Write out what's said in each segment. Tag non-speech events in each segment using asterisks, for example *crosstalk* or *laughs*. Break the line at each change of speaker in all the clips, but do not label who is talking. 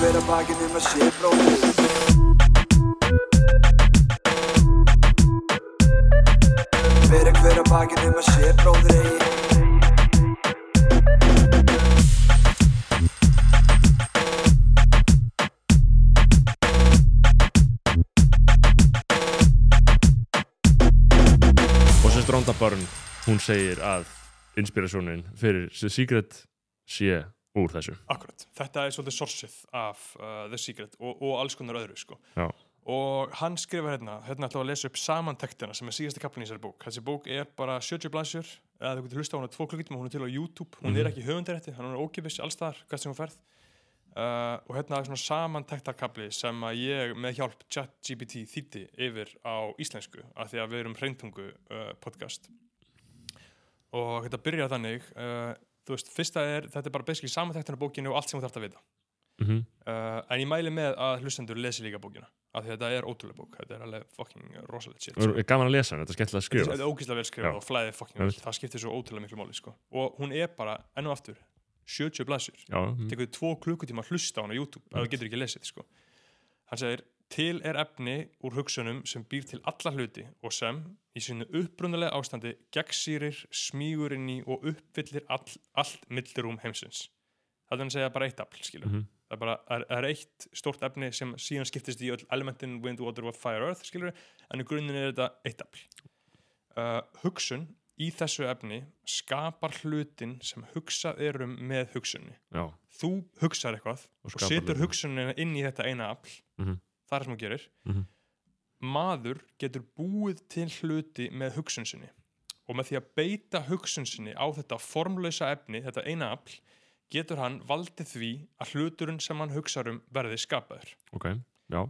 vera bakið nema sé bróðið Vera hver að bakið nema sé bróðir eigi
Og sem Stronda Byrne, hún segir að inspirasjónin fyrir The Secret sé úr þessu.
Akkurat, þetta er svolítið sorsið af uh, The Secret og, og alls konar öðru sko.
Já.
og hann skrifar hérna hérna ætlaði að lesa upp samantektina sem er síðasta kaplin í þessari bók þessi bók er bara 70 blansjur eða þú getur hlusta á hana 2 klukkutíma, hún er til á YouTube hún er ekki höfundarétti, hann er ókipis allstaðar hvert sem hún ferð uh, og hérna er svona samantektarkapli sem að ég með hjálp ChatGPT þýtti yfir á íslensku af því að við erum hreintungu uh, podcast og þetta byrjar þannig uh, þú veist, fyrsta er, þetta er bara basically samantektin á bókinu og allt sem þú þarft að vita
Mm
uh, en ég mæli með að hlustendur lesi líka bókina af því að þetta er ótrúlega bók, þetta er alveg fucking rosalegt shit sko.
Er gaman að lesa hann, þetta er skemmtilega að
þetta
skrifa.
er ógeðslega vel
Já.
skrifað og flæðið fucking
Einmitt.
vel það skiptir svo ótrúlega miklu máli sko. og hún er bara, enn og aftur 70 blansur,
Já, mm,
tekur þið tvo klukkutíma að hlusta á hana á YouTube, ef þú getur ekki lesið sko. hann segir, til er efni úr hugsunum sem býr til alla hluti og sem, í sínu uppbrunnulega ástandi gegnsýrir, smýgur inn í og uppfyllir all, allt millirúm heimsins það er hann að segja bara eitt afl skilur
Mhm.
það, er bara, það er- það er eitt stórt efni sem síðan skiptist í öll elementin wind, water, fire, earth skilur en í grunninn er þetta eitt afl uh, hugsun í þessu efni skapar hlutin sem hugsað erum með hugsunni
já.
þú hugsar eitthvað
Og
og,
skapar
setur
hlutina.
hugsunina inn í þetta eina afl
Mhm.
það er það sem hún gerir
Mhm.
maður getur búið til hluti með hugsun sinni og með því að beita hugsun sinni á þetta formlausa efni, þetta eina afl getur hann valdið því að hluturinn sem hann hugsar um verði skapaður
Ok, já.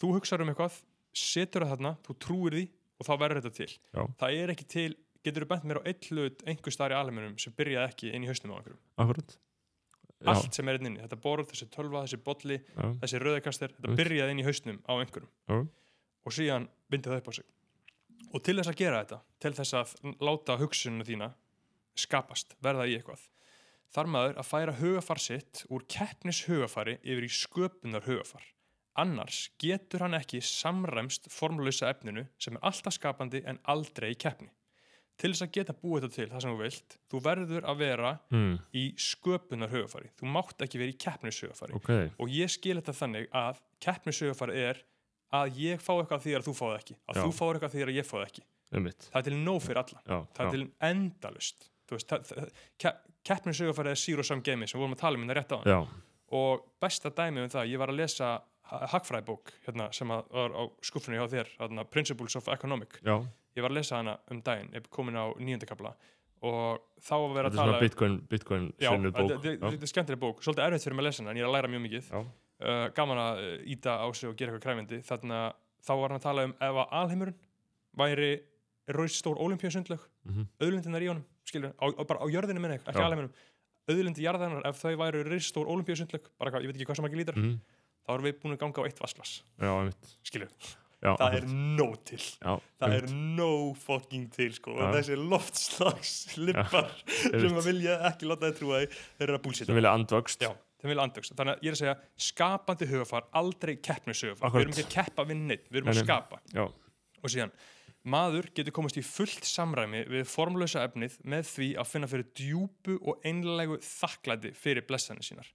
þú hugsar um eitthvað, setur það þarna þú trúir því og þá verður þetta til
Já.
það er ekki til, getur þú bent mér á einn hlut einhver staðar í alheiminum sem byrjaði ekki inn í hausnum á einhverjum,
Akkurat. Já,
allt sem er inn inni þetta borð, þessi tölva, þessi bolli
já,
þessi rauðikastir, þetta
Einmitt.
byrjaði inn í hausnum á einhverjum
Já.
og síðan vindi það upp á sig og til þess að gera þetta, til þess að láta hugsuninu þína skapast, verða í eitthvað þar maður að færa hugafar sitt úr keppnis hugafari yfir í sköpunar hugafar annars getur hann ekki samræmst formlösa efninu sem er alltaf skapandi en aldrei í keppni til þess að geta búið þetta til það sem þú vilt þú verður að vera
mm,
í sköpunar hugafari þú mátt ekki vera í keppnis hugafari
ok,
og ég skil þetta þannig að keppnisögufæri er að ég fá eitthvað af því að þú fáið ekki að
Já.
þú fáið eitthvað af því að ég fáið ekki
ummitt.
það er til nóg fyrir alla,
Já,
það
já,
er til endalust veist, það- það- ke- keppnisögufæri er zero sum gaming sem við vorum að tala um hérna rétt á hann
já,
og besta dæmi um það, ég var að lesa ha- hagfræðibók hérna, sem að var á skuffunni hjá þér hérna, Principles of Economic
já.
ég var að lesa hana um daginn, ég er komin á nýjöndakabla og þá var að vera
Þetta er
að tala
svona Bitcoin, Bitcoin
Já,
sinnuð
þetta-
bók.
þetta
Já,
þetta er skemmtileg bók, svolítið erfitt fyrir mig að lesa hana en ég er að læra mjög mikið
já,
uh, gaman að uh, íta á sig og gera eitthvað kræfindi þannig að þá var hann að tala um ef að alheimurinn væri rauðstór olimpíasundlög
Mhm.
auðlundinnar í honum, skilur, á, á, bara á jörðinu minni ekki
Já.
alheiminum, auðlundi jarðarinnar ef þau væri rauðstór olimpíasundlög bara hvað, ég veit ekki hvað sem ekki lítar
Mhm.
þá erum við búin að ganga á eitt vasslas
já, ummitt.
skilur,
Já,
það er
akkurat.
nóg til
já,
það
einmitt.
er no fucking til sko og
Já.
þessi loftslags lippar sem að vilja ekki láta þið trúa því þeir eru að búlsita
sem vilja andvöxt.
Já, þeim vilja andvöxt. Þannig að ég er að segja skapandi hugafar, aldrei keppnishugafar. Við
Akkurat.
erum ekki að keppa við neitt, við erum
Nei,
að
nei.
skapa.
Já,
Og síðan, maður getur komast í fullt samræmi við formlösa efnið með því að finna fyrir djúpu og einlegu þakklæti fyrir blessanir sínar.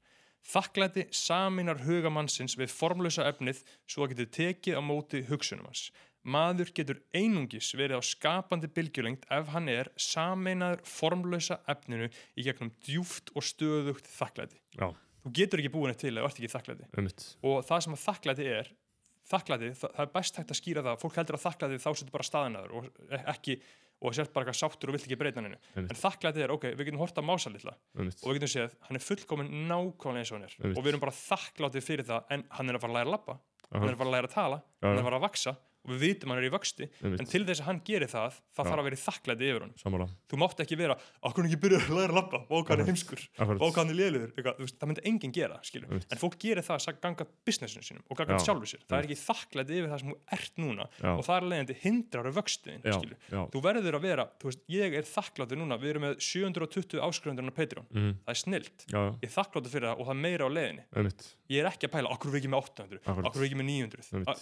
Þakklæti saminar hugamannsins við formlösa efnið svo að getur tekið á móti hugsunum hans. Maður getur einungis verið á skapandi bylgjulengd ef hann er sameinaður formlösa efninu í gegnum djúft og stöðugt þakklæti
já,
þú getur ekki búin til eða þú ert ekki þakklæti
ummitt.
og það sem að þakklæti er þakklæti, það, það er best hægt að skýra það fólk heldur að þakklæti þá setur bara staðinaður og e- ekki, og sért bara eitthvað sáttur og vilt ekki breyta hann
Einmitt.
en þakklæti er, ok, við getum horta mása litla
Ummitt.
og við getum séð, hann er fullkomin nákvæmlega eins og hann er
Einmitt.
og við erum bara þakkláti fyrir það en hann er að fara að læra að labba, hann er að fara að læra að tala
Já, já.
hann er að fara að vaksa, og við vitum hann er í vöxti en
einmitt,
til þess að hann gerir það, það
Já.
þarf að vera þakklæti yfir hann
sammála
þú mátt ekki vera, okkur ekki byrja að læra að labba og hann er
Akkurat.
heimskur,
Akkurat.
og hann er lélugur eitthvað, þú veist, það myndi enginn gera, skilur
Einmitt.
en fólk gerir það að ganga businessinu sínum og ganga
Já.
sjálfu sér, það er ekki þakklæti yfir það sem þú ert núna
Já.
og það er leiðandi hindrar af vöxtin,
já,
skilur
já,
þú verður að vera, þú veist, ég er þakklátur núna við erum með 720 áskrifundur á Patreon
mm,
það er snilt,
já, já,
ég er þakklátur fyrir það og það er meira á leiðinni,
einmitt
ég er ekki að pæla okkur við ekki með 800,
Akkurat.
okkur við ekki með 900
Einmitt.
A-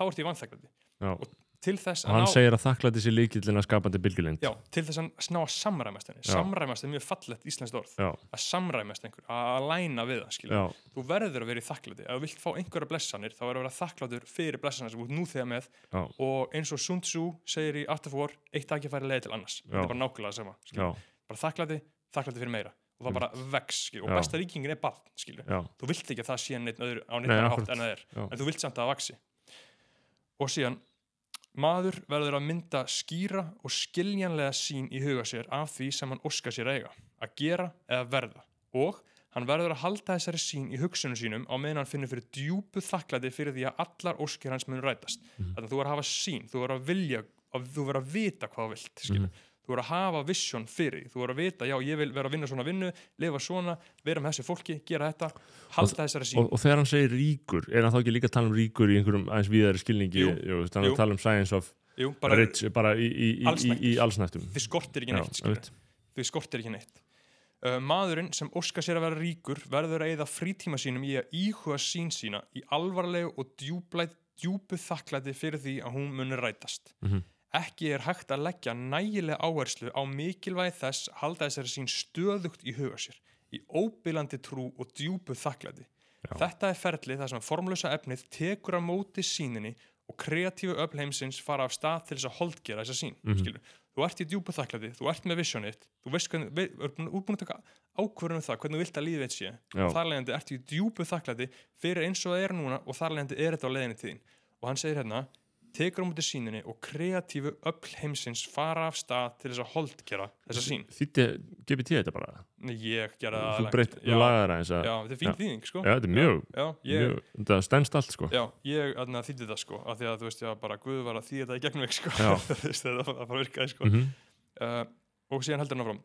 þá ert ég vannþakkláti
já.
Og til þess
og
að
hann
ná
segir að þakklæti sér líkillin að skapandi bylgjulend
Já, til þess að ná að samræmast henni
Já.
samræmast er mjög fallegt íslenskt orð
já,
að samræmast einhver, að læna við það skilur.
já,
þú verður að vera í þakklæti ef þú vilt fá einhverja blessanir, þá verður að vera þakklátur fyrir blessanir sem þú ert nú þegar með
já,
og eins og Sun Tzu segir í Art of War eitt tækifæri leiði til annars, þetta er bara nákvæmlega sama skilur.
já, Mm.
bara þakklæti, þakklæti fyrir meira og það bara vex, skilur. og
Já.
besta vikingin er barn skilur.
já,
þú vilt ekki að það sé neitt öðru, á neitt
Nei,
annan
akkúrat.
hátt en það er
já,
en þú vilt samt að það vaksi og síðan maður verður að mynda skýra og skiljanlega sín í huga sér af því sem hann óskar sér að eiga að gera eða verða og hann verður að halda þessari sín í hugsunum sínum á meðan hann finnur fyrir djúpu þakklæti fyrir því að allar óskir hans mun rætast
Mhm.
þannig að þú verður að hafa sín, þú verður að vilja að þú verður að vita hvað þú vilt mm
Mhm.
þú verður að hafa vision fyrir því, þú verður að vita já, ég vil vera að vinna svona vinnu, lifa svona vera með þessu fólki, gera þetta halda þessari sín
Og, og þegar hann segir ríkur, er hann þá ekki líka að tala um ríkur í einhverjum aðeins víðari skilningi,
Jú,
jú, þannig
jú.
að tala um science of
Jú,
bara,
bara-
rich, bara í, í, í, í, í allsnættum.
því skortir ekki
Já,
neitt skilur.
einmitt.
því skortir ekki neitt uh, maðurinn sem óskar sér að vera ríkur verður að eyða frítíma sínum í að íhuga sín sína í alvarlegu og djúblæð, djúpu þakklæti fyrir því að hún muni rætast
Mhm.
ekki er hægt að leggja nægilega áherslu á mikilvægi þess að halda þessari sín stöðugt í huga sér í óbilandi trú og djúpu þakklæti
Já.
þetta er ferli þar sem formlösa efnið tekur á móti síninni og kreatífu öfl heimsins fara af stað til þess að holdgera þessa sín
Mhm.
skilur, þú ert í djúpu þakklæti, þú ert með visionið þú veist hvernig, við, við, við erum búin að taka ákvörðunum um það, hvernig þú vilt að lífið þitt sé
Já.
og þar leiðandi ertu í djúpu þakklæti fyrir eins og það er núna og þar leiðandi er þetta á leiðinni tíðin og hann segir hérna tekur á móti síninni og kreatífu öll heimsins fara af stað til þess að holdgera þessa sín
Þýtti GPT þetta bara?
Nei, ég gera það
Þú
langt.
breytt,
já,
þú lagaði það eins að...
já, þetta er fín
Já.
þýðing sko.
Já, þetta er mjög,
já, ég,
mjög, þetta stendst allt sko.
já, ég þarna, þýtti það sko, af því að þú veist, já, bara Guð var að þýða þetta í gegnum ekki sko.
Já.
*laughs* Þú veist, það það bara virkaði sko.
Mhm,
uh, og síðan heldur hann áfram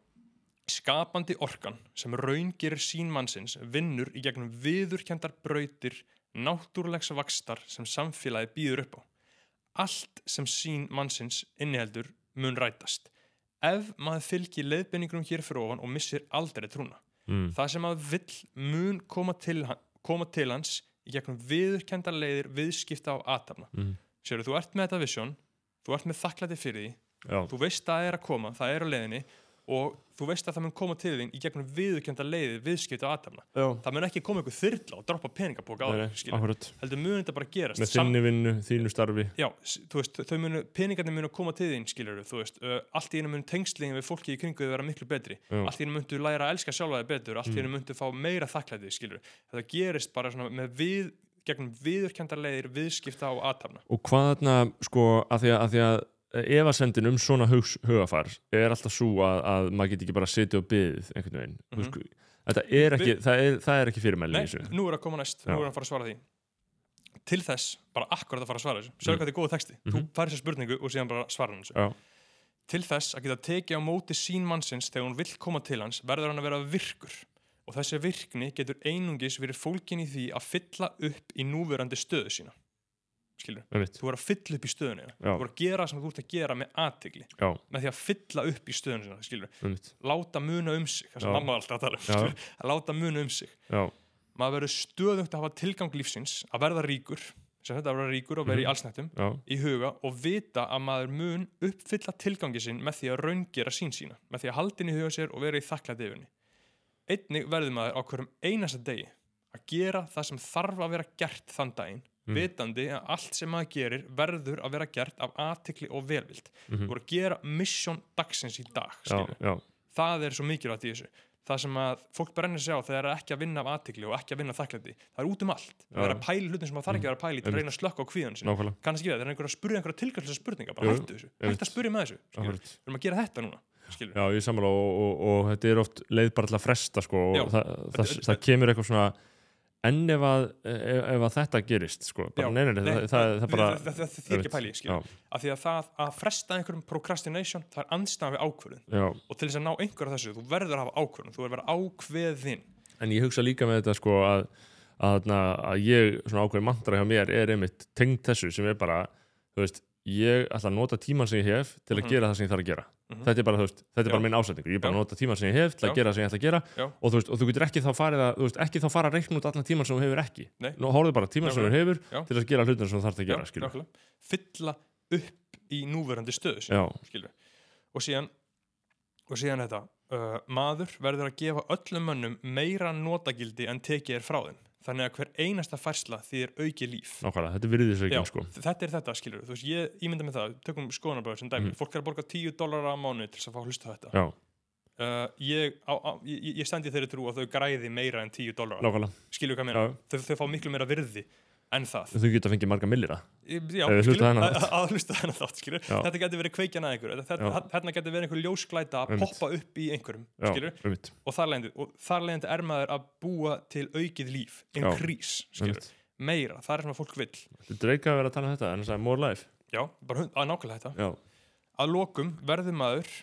skapandi orkan sem raungir sín mannsins vinnur í gegnum viðurkendar brautir náttúrulegs vakstar sem samfélagi býður upp á allt sem sín mannsins inniheldur mun rætast ef maður fylgir leiðbeiningrum hér fyrir ofan og missir aldrei trúna
mm,
það sem maður vill mun koma til, hann- koma til hans í gegnum viðurkendar leiðir viðskipta á aðtapna
mm,
sér þú ert með þetta vision þú ert með þakklæti fyrir því
já,
þú veist að það er að koma, það er á leiðinni og þú veist að það mun koma til þín í gegnum viðurkjönda leiði viðskipta og aðtæmna
já,
það mun ekki koma ykkur þyrla og droppa peningapóka á
það er
þig, skilur.
akkurat.
heldur mun þetta bara gerast
Með þinni vinnu, þínu starfi,
já, s- þú veist, þau munu, peningarnir munu koma til þín skilur, þú veist, uh, allt í einu mun tengsliðin við fólki í kringu þau vera miklu betri
Já. Mm.
allt í einu muntu læra að elska sjálfa þig betur allt í einu muntu fá meira þakklæti, skilur þetta gerist bara svona með við gegnum viðurkjönda leiðir viðskipta og aðtæmna
og hvað þarna sko að því að, að, því að efasendin um svona hugs, hugafar er alltaf svo að, að maður get ekki bara setið og byðið einhvern veginn mm
Mhm.
sko, þetta er ekki, það er, það er ekki fyrirmæli í
Nei,
þessu
nú er að koma næst,
Já.
nú er hann að fara að svara því Til þess, bara akkurat að fara að svara þessu
Mm.
Sjáðu hvað þetta er góða texti, þú
Mhm.
færir sér spurningu og síðan bara svara hann þessu
Já.
Til þess að geta tekið á móti sín mannsins þegar hún vill koma til hans verður hann að vera virkur og þessi virkni getur einungis verið fólkin í því að fylla upp í núverandi stöðu sína Skilur,
Einmitt.
þú verður að fylla upp í stöðuna þína.
Já.
þú verður að gera það sem þú ert að gera með aðtegli
já,
með því að fylla upp í stöðuna sína, skilur
einmitt
láta muna um sig, það sem
Já.
mamma var alltaf að tala um
Já.
skilur, að láta muna um sig
já,
maður verður stöðungt að hafa tilgang lífsins að verða ríkur sem þetta að verða ríkur og vera í
Mhm.
allsnættum
já,
í huga og vita að maður mun uppfylla tilgangi sinn með því að raungera sín sína með því að haldin í huga sér og vera í þakklæti yfirni einnig verður maður á hverjum einasta degi að gera það sem þarf að vera gert þann daginn
Mhm.
vitandi að allt sem maður gerir verður að vera gert af aðtikli og velvild mm
Mhm.
-hmm. voru að gera mission dagsins í dag
já,
skilurðu
já,
það er svo mikilvægt í þessu það sem að fólk brennir sig á þegar það er ekki að vinna af aðtikli og ekki að vinna af þakklæti það er út um allt, það er að pæla í hlutin sem það þarf ekki að vera að pæla í til að
Einmitt.
reyna að slökka á kvíðan sinni
nákvæmlega
kannski við, það er einhver að spurja einhverja tilgjörslega spurninga bara
Jú,
hættu þessu,
einmitt.
hættu að spurja með þessu skilur.
akkurat.
við erum að gera þetta núna skilur.
já, ég er sammála og, og, og þetta er oft leið bara til að fresta sko og
Já.
það, það,
Þetta-
það kemur eitthvað svona en ef að, ef, ef að þetta gerist sko, bara,
Já,
nei, nei, nei, það, það, það bara
það, það, það, það þykir pæli, skil
já,
af því að það að fresta einhverjum procrastination það er andstæðan við ákvörðun
já.
og til þess að ná einhverju af þessu, þú verður að hafa ákvörðun þú verður að vera ákveðin
en ég hugsa líka með þetta sko að að, þarna, að ég, svona ákveðin mantra hjá mér er einmitt tengd þessu sem er bara þú veist, ég ætla að nota tíman sem ég hef til að
Mhm.
gera það sem ég þarf að gera
Mhm.
þetta er bara, þú veist, þetta er
Já.
bara minn ásetningur ég er bara
Já.
að nota tíman sem ég hef til að
Já.
gera það sem ég ætla að gera
Já.
og þú veist, og þú getur ekki þá farið að þú veist, ekki þá fara að reikna út allan tíman sem þú hefur ekki
Nei.
Nú horfðu bara á tíman sem þú
Nákvæmlega.
hefur
Já.
til að gera hlutin sem þú þarf að
Já,
gera, skilur
nákvæmlega. fylla upp í núverandi stöðu sína,
Já,
skilur við. og síðan og síðan þetta uh, maður verður að gefa öllum mönnum meira notagildi en tekið er frá þeim þannig að hver einasta færsla þýðir auki líf
nákvæmlega, þetta er virðisreikin, sko
þetta er þetta skilur við. þú veist, ég, ég mynda með það, tökum skoðanabræður sem dæmi
Mhm.
fólk er að borga 10 dólar á mánu til þess að fá að hlusta á þetta
Já,
uh, ég, á, á, ég, ég sendi þeirri trú að þau græði meira en 10 dólar
nákvæmlega
skilur við hvað ég meina,
Já.
þau, þau fá miklu meira virði en það
Þú getur að fengið marga millira
Já,
Ef þið
skilur,
hlustað þennan
að- að hlusta þennan þátt skilur.
Já.
þetta getur verið kveikjan að einhverju þetta,
Já.
þetta getur verið einhver ljósglæta að
Einmitt.
poppa upp í einhverjum
Já,
skilur,
einmitt,
og þar leiðandi, og þar leiðandi er maður að búa til aukið líf, increase skilur,
einmitt.
meira, það er sem að fólk vill
Þetta er eitthvað að vera að tala um þetta, en það er more life
já, bara hund- að nákvæmlega þetta
Já,
að lokum verður maður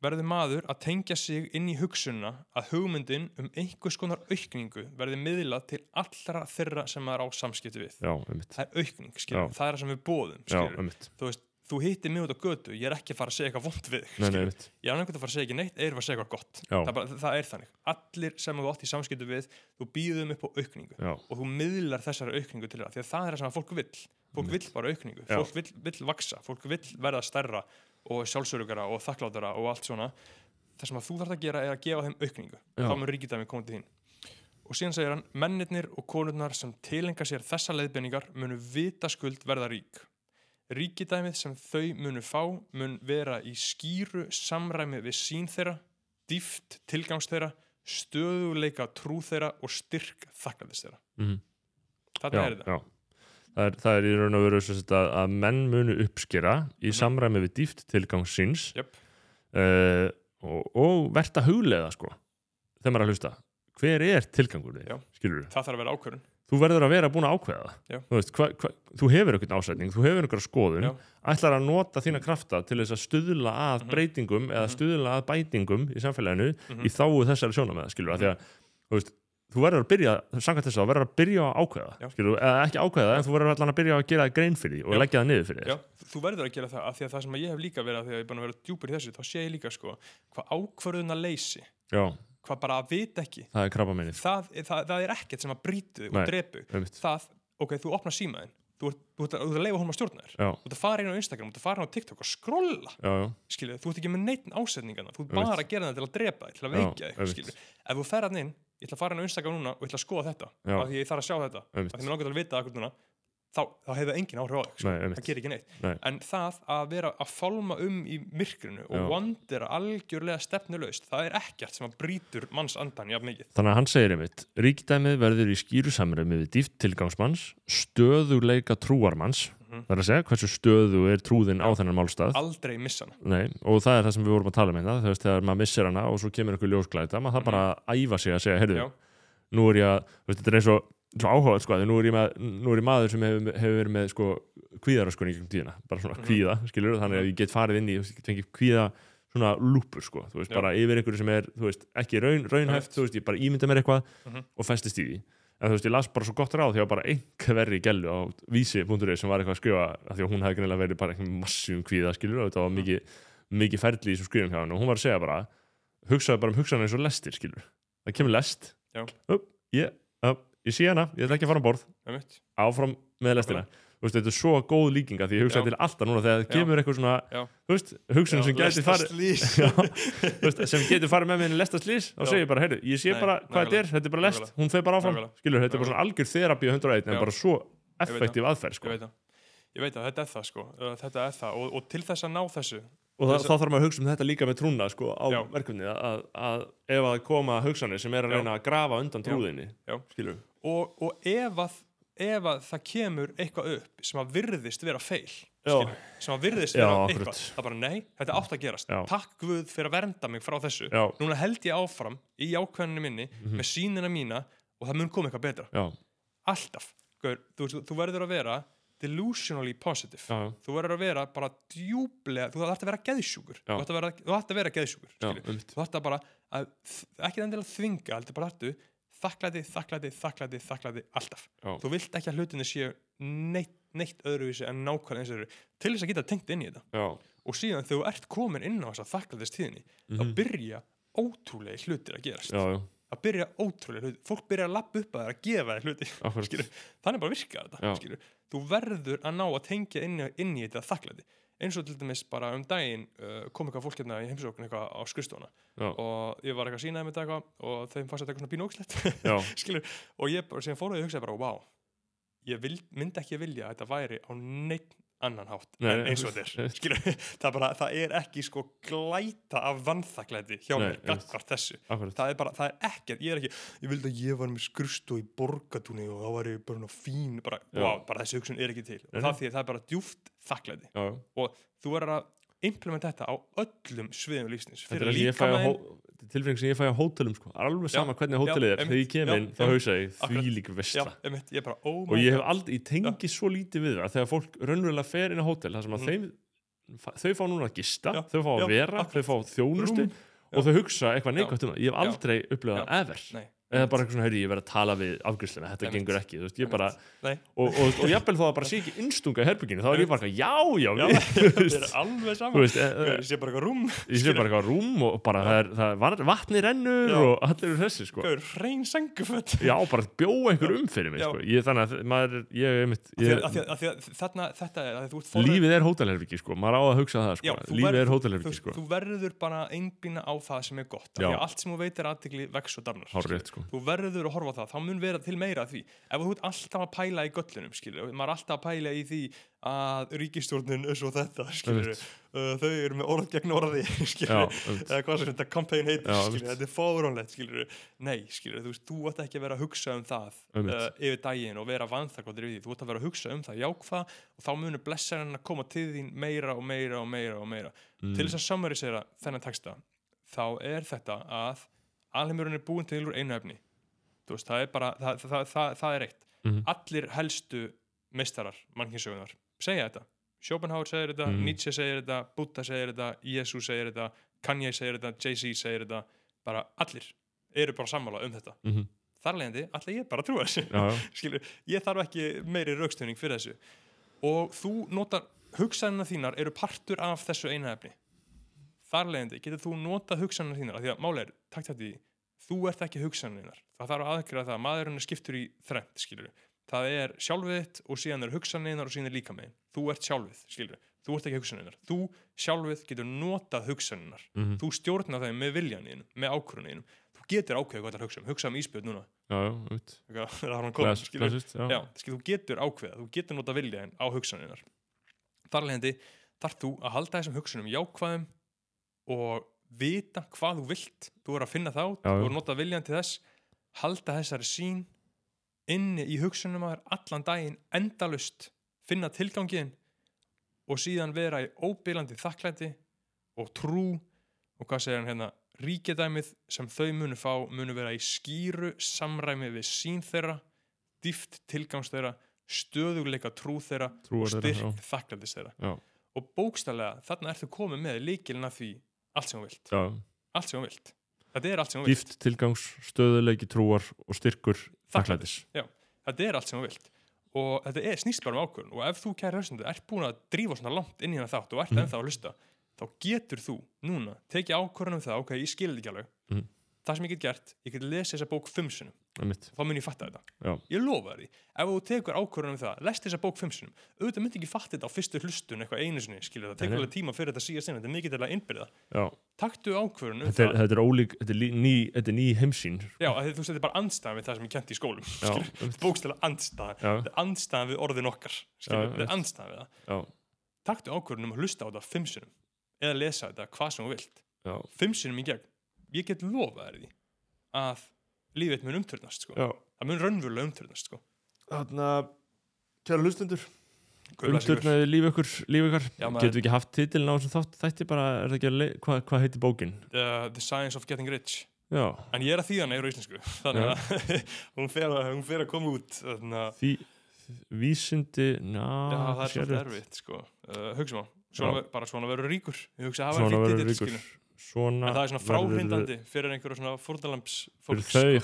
verður maður að tengja sig inn í hugsunna að hugmyndin um einhvers konar aukningu verði miðlað til allra þeirra sem maður á samskipti við
já, einmitt
það er aukning, skilur,
Já.
það er það sem við bóðum
Já,
skilur,
einmitt,
þú veist, þú hittir mig út á götu ég er ekki að fara að segja eitthvað vond við
nei, nei,
skilur.
einmitt
ég er annað að fara að segja ekki neitt eða að segja eitthvað gott
Já,
það, er bara, það er þannig, allir sem þú átt í samskipti við þú býðum upp á aukningu
já,
og þú miðlar þessari aukningu til það því að það er það sem að fólk vill fólk vill bara aukningu,
Já.
fólk vill, vill vaksa fólk vill verða stærra og sjálfsörugara og þakklátara og allt svona það sem að þú þarf að gera er að gefa þeim aukningu
Já.
þá mun ríkidæmi koma til þín og síðan segir hann, mennirnir og konurnar sem tilenga sér þessa leiðbeiningar munu vitaskuld verða rík ríkidæmið sem þau munu fá mun vera í skýru samræmi við sín þeirra dýft tilgangs þeirra stöðuleika trú þeirra og styrk þakklæðis þeirra
Mhm.
Þarna
já,
er þetta
já. Það er, það er í raun og veru sem sagt, að, að menn munu uppskera í
Mhm.
samræmi við dýft tilgang síns
Jöp.
uh, og, og verta huglega sko, þegar maður er að hlusta hver er tilgangur
Já.
þig, skilur
Það þarf að vera ákvörðun
þú verður að vera búin að ákveða
Já.
það þú, veist, hva, hva, þú hefur einhvern ásætning, þú hefur einhverja skoðun
Já.
ætlar að nota þína krafta til þess að stuðla að
Mhm.
breytingum eða
Mhm.
stuðla að bætingum í samfélaginu
Mhm.
í þáu þessari sjónameða, skilur af því að þú, veist, þú verður að byrja, samkvæmt þess að þú verður að byrja að
Já.
ákveða skilur, eða ekki ákveða, en þú verður allan að byrja að gera grein fyrir því og
Já.
leggja það niður fyrir
Já,
þér
þú verður að gera það af því að það sem ég hef líka verið af því að ég er búin að vera djúpur í þessu þá sé ég líka sko hvað ákvörðun að leysi
Já,
hvað bara að vita ekki
það er krabba meinið
það, það, það er ekkert sem að brýtu þig
Nei.
og drepu
einmitt.
það, ok, þú opnar símaðin þú ert, þú ert, að- þú ert að leifa honum að stjórna þér
Já,
þú ert að fara inn á Instagram, þú ert að fara inn á TikTok og skrolla
já, já,
skilur, þú ert ekki með neitt ásetningana þú ert
Einmitt.
bara að gera það til að drepa þig, til að
Já,
veikja þig
einmitt.
skilur. ef þú ferð hann inn, ég ætla að fara hann á Instagram núna og ég ætla að skoða þetta,
Já.
af því ég þarf að sjá þetta af því
einmitt.
mér langar til að vita akkur núna þá, þá hefur það engin áhrif á þig sko.
Nei, einmitt.
það gerir ekki neitt,
Nei.
en það að vera að fálma um í myrkrinu og
Já.
vandera algjörlega stefnulaust, það er ekkert sem að brýtur manns andan jafn mikið
Þannig að hann segir einmitt, ríkdæmið verður í skýru samræmi við dýft tilgangsmanns, stöðuleika trúarmanns,
Mhm.
það er að segja hversu stöðu er trúðin á þennan málstað,
aldrei missa hana,
Nei, og það er það sem við vorum að tala um hérna, þú veist, þegar maður missir hana og svo kemur einhver ljósglæta, maður þarf bara að æfa sig að segja, heyrðu,
Mhm. já,
nú er ég að, þú veist, þetta er eins og, svo áhugað, sko, því nú er ég, með, nú er ég maður sem hefur hef verið með, sko, kvíðaröskun í gegnum tíðina, bara svona
Mhm.
kvíða, skilur, þannig að ég get farið inn í, þú veist, ég get fengið kvíða svona lúpur, sko, þú veist,
Já.
bara yfir einhverju sem er, þú veist, ekki raun, raunhæft, þú veist, ég bara ímynda mér eitthvað
Mhm.
og festist í því. En þú veist, ég las bara svo gott ráð því að bara einhverri gælu á vísi.is sem var eitthvað að skrifa, af því að hún hefði greinilega verið bara einhverjum massíum kvíða, skilur, og þetta
Mhm.
var mikið, mikið ferli í þessum skrifum hjá hann og hún var að segja bara, hugsaði bara um hugsanir eins og lestir, skilur. Það kemur lest,
Já.
upp, ég, upp, ég sé hana, ég ætla ekki að fara um borð,
einmitt
áfram með lestina Þú veist, þetta er svo góð líkinga því ég hugsa
Já.
til alltaf núna þegar það
Já.
kemur eitthvað svona
Já.
þú veist, hugsun sem getur farið
slís
Já, þú veist, sem getur farið með mér lesta slís þá
Já.
segir ég bara, heyrðu, ég sé
Nei,
bara hvað þetta er
nákvæmlega.
þetta er bara lest,
Nákvæmlega.
hún fer bara áfram
Nákvæmlega.
skilur, þetta er bara svona algjör þerapi á 101
Já.
en bara svo
veit
effektiv aðferð
ég
sko.
veit það, ég veit það, þetta er það sko Uh, þetta er það, og, og til þess að ná þessu
og það,
Þess-
þá þarf maður að hugsa um þetta líka með trúna sko, á
Já.
verkefni að, að, að ef að koma hugsanir sem er að
Já.
reyna að grafa undan
Já.
trúðinni
Já.
skilur,
og, og ef, að, ef að það kemur eitthvað upp sem að virðist vera feil
Já.
skilur, sem að virðist
Já,
vera
akkurat.
eitthvað það er bara nei, þetta átt að gerast
Já.
takk Guð fyrir að vernda mig frá þessu
Já. Mhm.
núna held ég áfram í ákveðinu minni með sínina mína og það mun koma eitthvað betra
já,
alltaf Gaur, þú, veist, þú verður að vera delusionally positive
já, já,
þú verður að vera bara djúblega þú þarf að vera geðsjúkur
Já.
þú þarf að vera, þú þarft að vera geðsjúkur
já,
skilju.
einmitt.
þú þarf að bara að, ekki endilega þvinga heldur bara þartu þakklæti, þakklæti, þakklæti, þakklæti alltaf
Já.
þú vilt ekki að hlutinni séu neitt, neitt öðruvísi en nákvæmlega eins og þeir eru til þess að geta tengt inn í þetta
já,
og síðan þegar þú ert komin inn á þessa þakklætistíðinni
Mhm.
þá byrja ótrúlega hlutir að gerast
já, já,
að byrja ótrúlega hluti fólk byrja að lappa upp að það að gefa þér hluti *laughs*
akkurat
skilur, þannig bara virkar þetta
Já.
skilur. þú verður að ná að tengja inn, í- inn í þetta þakklæti eins og til dæmis bara um daginn uh, kom eitthvað fólk hérna í heimsókn eitthvað á skrifstofuna
já,
og ég var eitthvað að sína þeim þetta eitthvað og þeim fannst þetta eitthvað svona bínu *laughs* ógslætt
já,
skilur, og ég bara, sem fór að ég hugsaði bara, wow ég vil, myndi ekki vilja að þetta væri á neitt annan hátt
Nei,
en
nei.
eins
*laughs*
og þetta er skilur, það, er bara, það er ekki sko glæta af vannþakklæti hjá
Nei,
mér
einmitt.
gagvart þessu
akkurat
það er bara, það er ekkert, ég er ekki ég vildi að ég var með skrust og í borgatúni og það var ég bara svona fín bara,
Já.
wow, bara þessi hugsun er ekki til og
Nei,
það
nei.
því að það er bara djúft þakklæti
já, já.
og þú verður að implementa þetta á öllum sviðum lífsins
Þetta er alveg ég fæ á hó- þetta er tilfinning sem ég fæ á hótelum sko. alveg
Já,
sama hvernig hótelið er,
einmitt,
þegar ég kem
já,
inn þá
já,
hausa ég
akkurat.
því lík
já,
vestla
einmitt, ég er bara, oh
og
my
ég
god
hef aldrei, ég tengi svo lítið við það þegar fólk raunverulega fer inn á hótel þar sem að þeim, fa- þau fá núna að gista
Mhm. Já,
þau fá að
já,
vera,
akkurat.
þau fá þjónustu
Rúm,
og þau hugsa eitthvað neikvægt um það ég hef
já,
aldrei upplifað það ever
nei,
eða bara eitthvað svona, heyrðu, ég verð að tala við afgrisluna, þetta
Einmitt.
gengur ekki, þú veist, ég bara og,
nei
og, og, og jafnvel þó að það bara sé ekki innstunga í herbygginu, þá er ég bara, eitthvað, já, já,
já, *laughs*
við- þú
þetta er
veist,
alveg
þú
sama
veist, eh, eh,
ég sé bara eitthvað rúm
ég sé bara eitthvað rúm og bara það er, það er var- vatni rennur
Já.
og allir eru þessi, sko
gaur, hrein sanguföt
já, bara bjó einhver um fyrir mig,
Já.
sko ég, þannig að maður, er- ég, einmitt
*laughs* Af því að-
ég,
af því að- af því að þarna, þetta er að þú ert forvitinn-
lífið er hótelherfiki, sko, maður á að hugsa það, sko
Já, þú
lífið
verð-
er
þú,
hótelherfiki,
sko.
sko
þú verður bara að einbýna á það sem er gott af
Já.
því að allt sem þú veitir aðtikli vex og damnar
Hárrétt, sko.
þú verður að horfa á það, þá mun vera til meira af því ef þú ert alltaf að pæla í göllunum skilur, maður er alltaf að pæla í því að ríkistjórnin er svo þetta skilur, uh, þau eru með orð gegn orði *laughs*
já,
skilur,
einmitt.
eða hvað sem þetta kampæn heitir
Já,
skilur,
einmitt.
þetta er fáránlegt skilur, nei skilur, þú veist, þú ætti ekki að vera að hugsa um það
Einmitt.
uh, yfir daginn og vera vanþakkvöldur yfir því, þú ætti að vera að hugsa um það jákvað og þá munur blessarinn að koma til þín meira og meira og meira og meira
Mm.
til þess að summarisera þennan texta þá er þetta að alheimurinn er búin til úr einu efni Þú veist, það er bara, það, það, það, það er eitt
Mhm.
allir helstu meistarar mannkinsögunar segja þetta Schopenhauer segir þetta,
Mhm.
Nietzsche segir þetta Buddha segir þetta, Jesus segir þetta Kanye segir þetta, Jay-Z segir þetta bara allir eru bara sammála um þetta
Mhm.
þar leiðandi, allir ég bara að trúa þessu
Mm-hmm. já, já,
skilur, ég þarf ekki meiri raukstunning fyrir þessu og þú notar hugsanina þínar eru partur af þessu eina efni þar leiðandi getur þú notað hugsanina þínar af því að máli er, takt þetta í þú ert ekki hugsaninnar það þarf að aðgjöra það að maðurinn er skiptur í þrennt skilur. það er sjálfið þitt og síðan er hugsaninnar og síðan er líka megin þú ert sjálfið, skilur, þú ert ekki hugsaninnar þú sjálfið getur notað hugsaninnar
Mhm.
þú stjórnar þeim með viljaninum með ákvörunum, þú getur ákveðið hvað það er að hugsa um hugsa um íspjöð núna,
já, já, einmitt.
það har hann komið
Klass-
skilurðu.
klassist, já,
Já, skil, þú getur ákveða, þú getur nota vilja á hugsaninnar. Þar leðandi þarf þú að halda þessum hugsunum jákvæðum og vita hvað þú vilt, þú er að finna þá,
Já,
þú
já.
er að nota viljan til þess, halda þessari sín inni í hugsunum að þér allan daginn endalust, finna tilgangin og síðan vera í óbyrlandi þakklæti og trú og hvað segir hann hérna, ríkjadæmið sem þau munu fá munu vera í skýru samræmi við sín þeirra dýft tilgangs þeirra stöðugleika trú þeirra
trúar
og
þeirra, já.
styrk þakklæðis þeirra
Já.
og bókstallega þarna ertu komið með líkilina því allt sem þú vilt,
já,
allt sem þú vilt þetta er allt sem þú vilt,
dýft tilgangs, stöðuleiki trúar og styrkur þakklætis
þetta er allt sem þú vilt og þetta er snýst bara um ákvörðun og ef þú kæri hlustundu, ert búin að drífa svona langt inn í það þátt og ert
Mhm.
ennþá að hlusta þá getur þú núna tekið ákvörðun um það, ok, ég skil þetta ekki alveg
Mhm.
það sem ég get gert, ég get lesið þessa bók fimm sinnum
einmitt,
þá mun ég fatta þetta.
Já.
Ég lofa þér því. Ef þú tekur ákvörðunum það, lest þessa bók fimm sinnum, auðvitað myndi ekki fatta þetta á fyrstu hlustun eitthvað einu sinni, skilur það,
Nei,
tekur
nei.
alveg tíma fyrir þetta síðast inn, þetta er mikið til að innbyrða.
já
Taktu ákvörðunum um
þetta er,
það.
þetta er ólík, þetta er lí- ný, þetta er ný heimsýn sko.
Já, af því að þú setur bara andstæðan við það sem ég kenti í skólum.
já,
skilurðu.
einmitt,
Bókstæla andstæðan.
já,
Þetta er andstæðan við orðin okkar. skilurðu.
Já,
Þetta
einmitt.
er andstæðan við það.
já,
Taktu ákvörðunum að hlusta á þetta fimm sinnum eða lesa þetta hvað sem þú vilt.
já,
Fimm sinnum í gegn. Ég get lofað þér því að lífið mun umturnast, sko.
já.
Það mun raunverulega umturnast, sko.
þarna kæra hlustendur
Guð blessi ykkur.
umturnaði lífi ykkur, lífi ykkar
Já, maður-
getum við ekki haft titilin á þessum þátt þætti bara, er það ekki að le- hvað hva heiti bókin
Uh, The Science of Getting Rich
já,
en ég er að þýða hana yfir á íslensku *laughs* þannig
Já.
að *laughs* hún fer að, hún fer að koma út þannig að
því vísindi, ná
já, það er svolítið
sérrétt.
erfitt sko. uh, hugsa maður, svona,
Ah, Já.
ver- bara svona verður ríkur ég hugsa að hafa
svona
fyrir
verður
þetta
ríkur
skilur
svona
en það er svona
verður-
fráhrindandi fyrir einhverja svona fórnalamps
fyrir
fólks
þau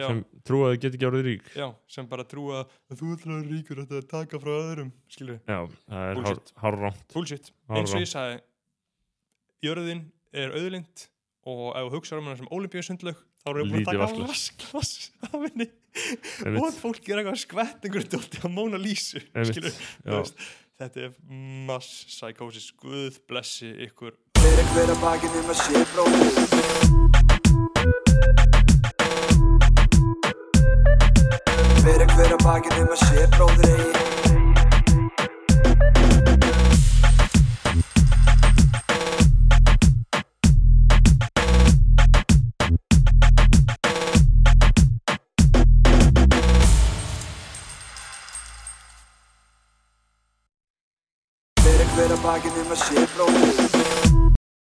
Já.
sem trú að þau get ekki árið rík
já, sem bara trúa að þú ætlar að vera ríkur þetta er að taka frá öðrum skilur
já, það er hár,
Bullshit.
hárrangt
bullshit,
Já,
eins og
rangt.
ég sagði jörðin er auðlind og ef þú hugsa um hana sem olimpíusundlaug þá erum
Lítið
við búin að taka
vatnsglas.
vasklas af henni
Einmitt.
og að fólk er eitthvað skvett einhverju dótti á Mona Lísu
Einmitt,
skilur,
já.
þú veist, þetta er mass psychosis, guð blessi ykkur
Fyrir hver að baki nema sé bróðir Fyrir hver að baki nema sé bróðir eigi Fyrir hver að baki nema sé bróðir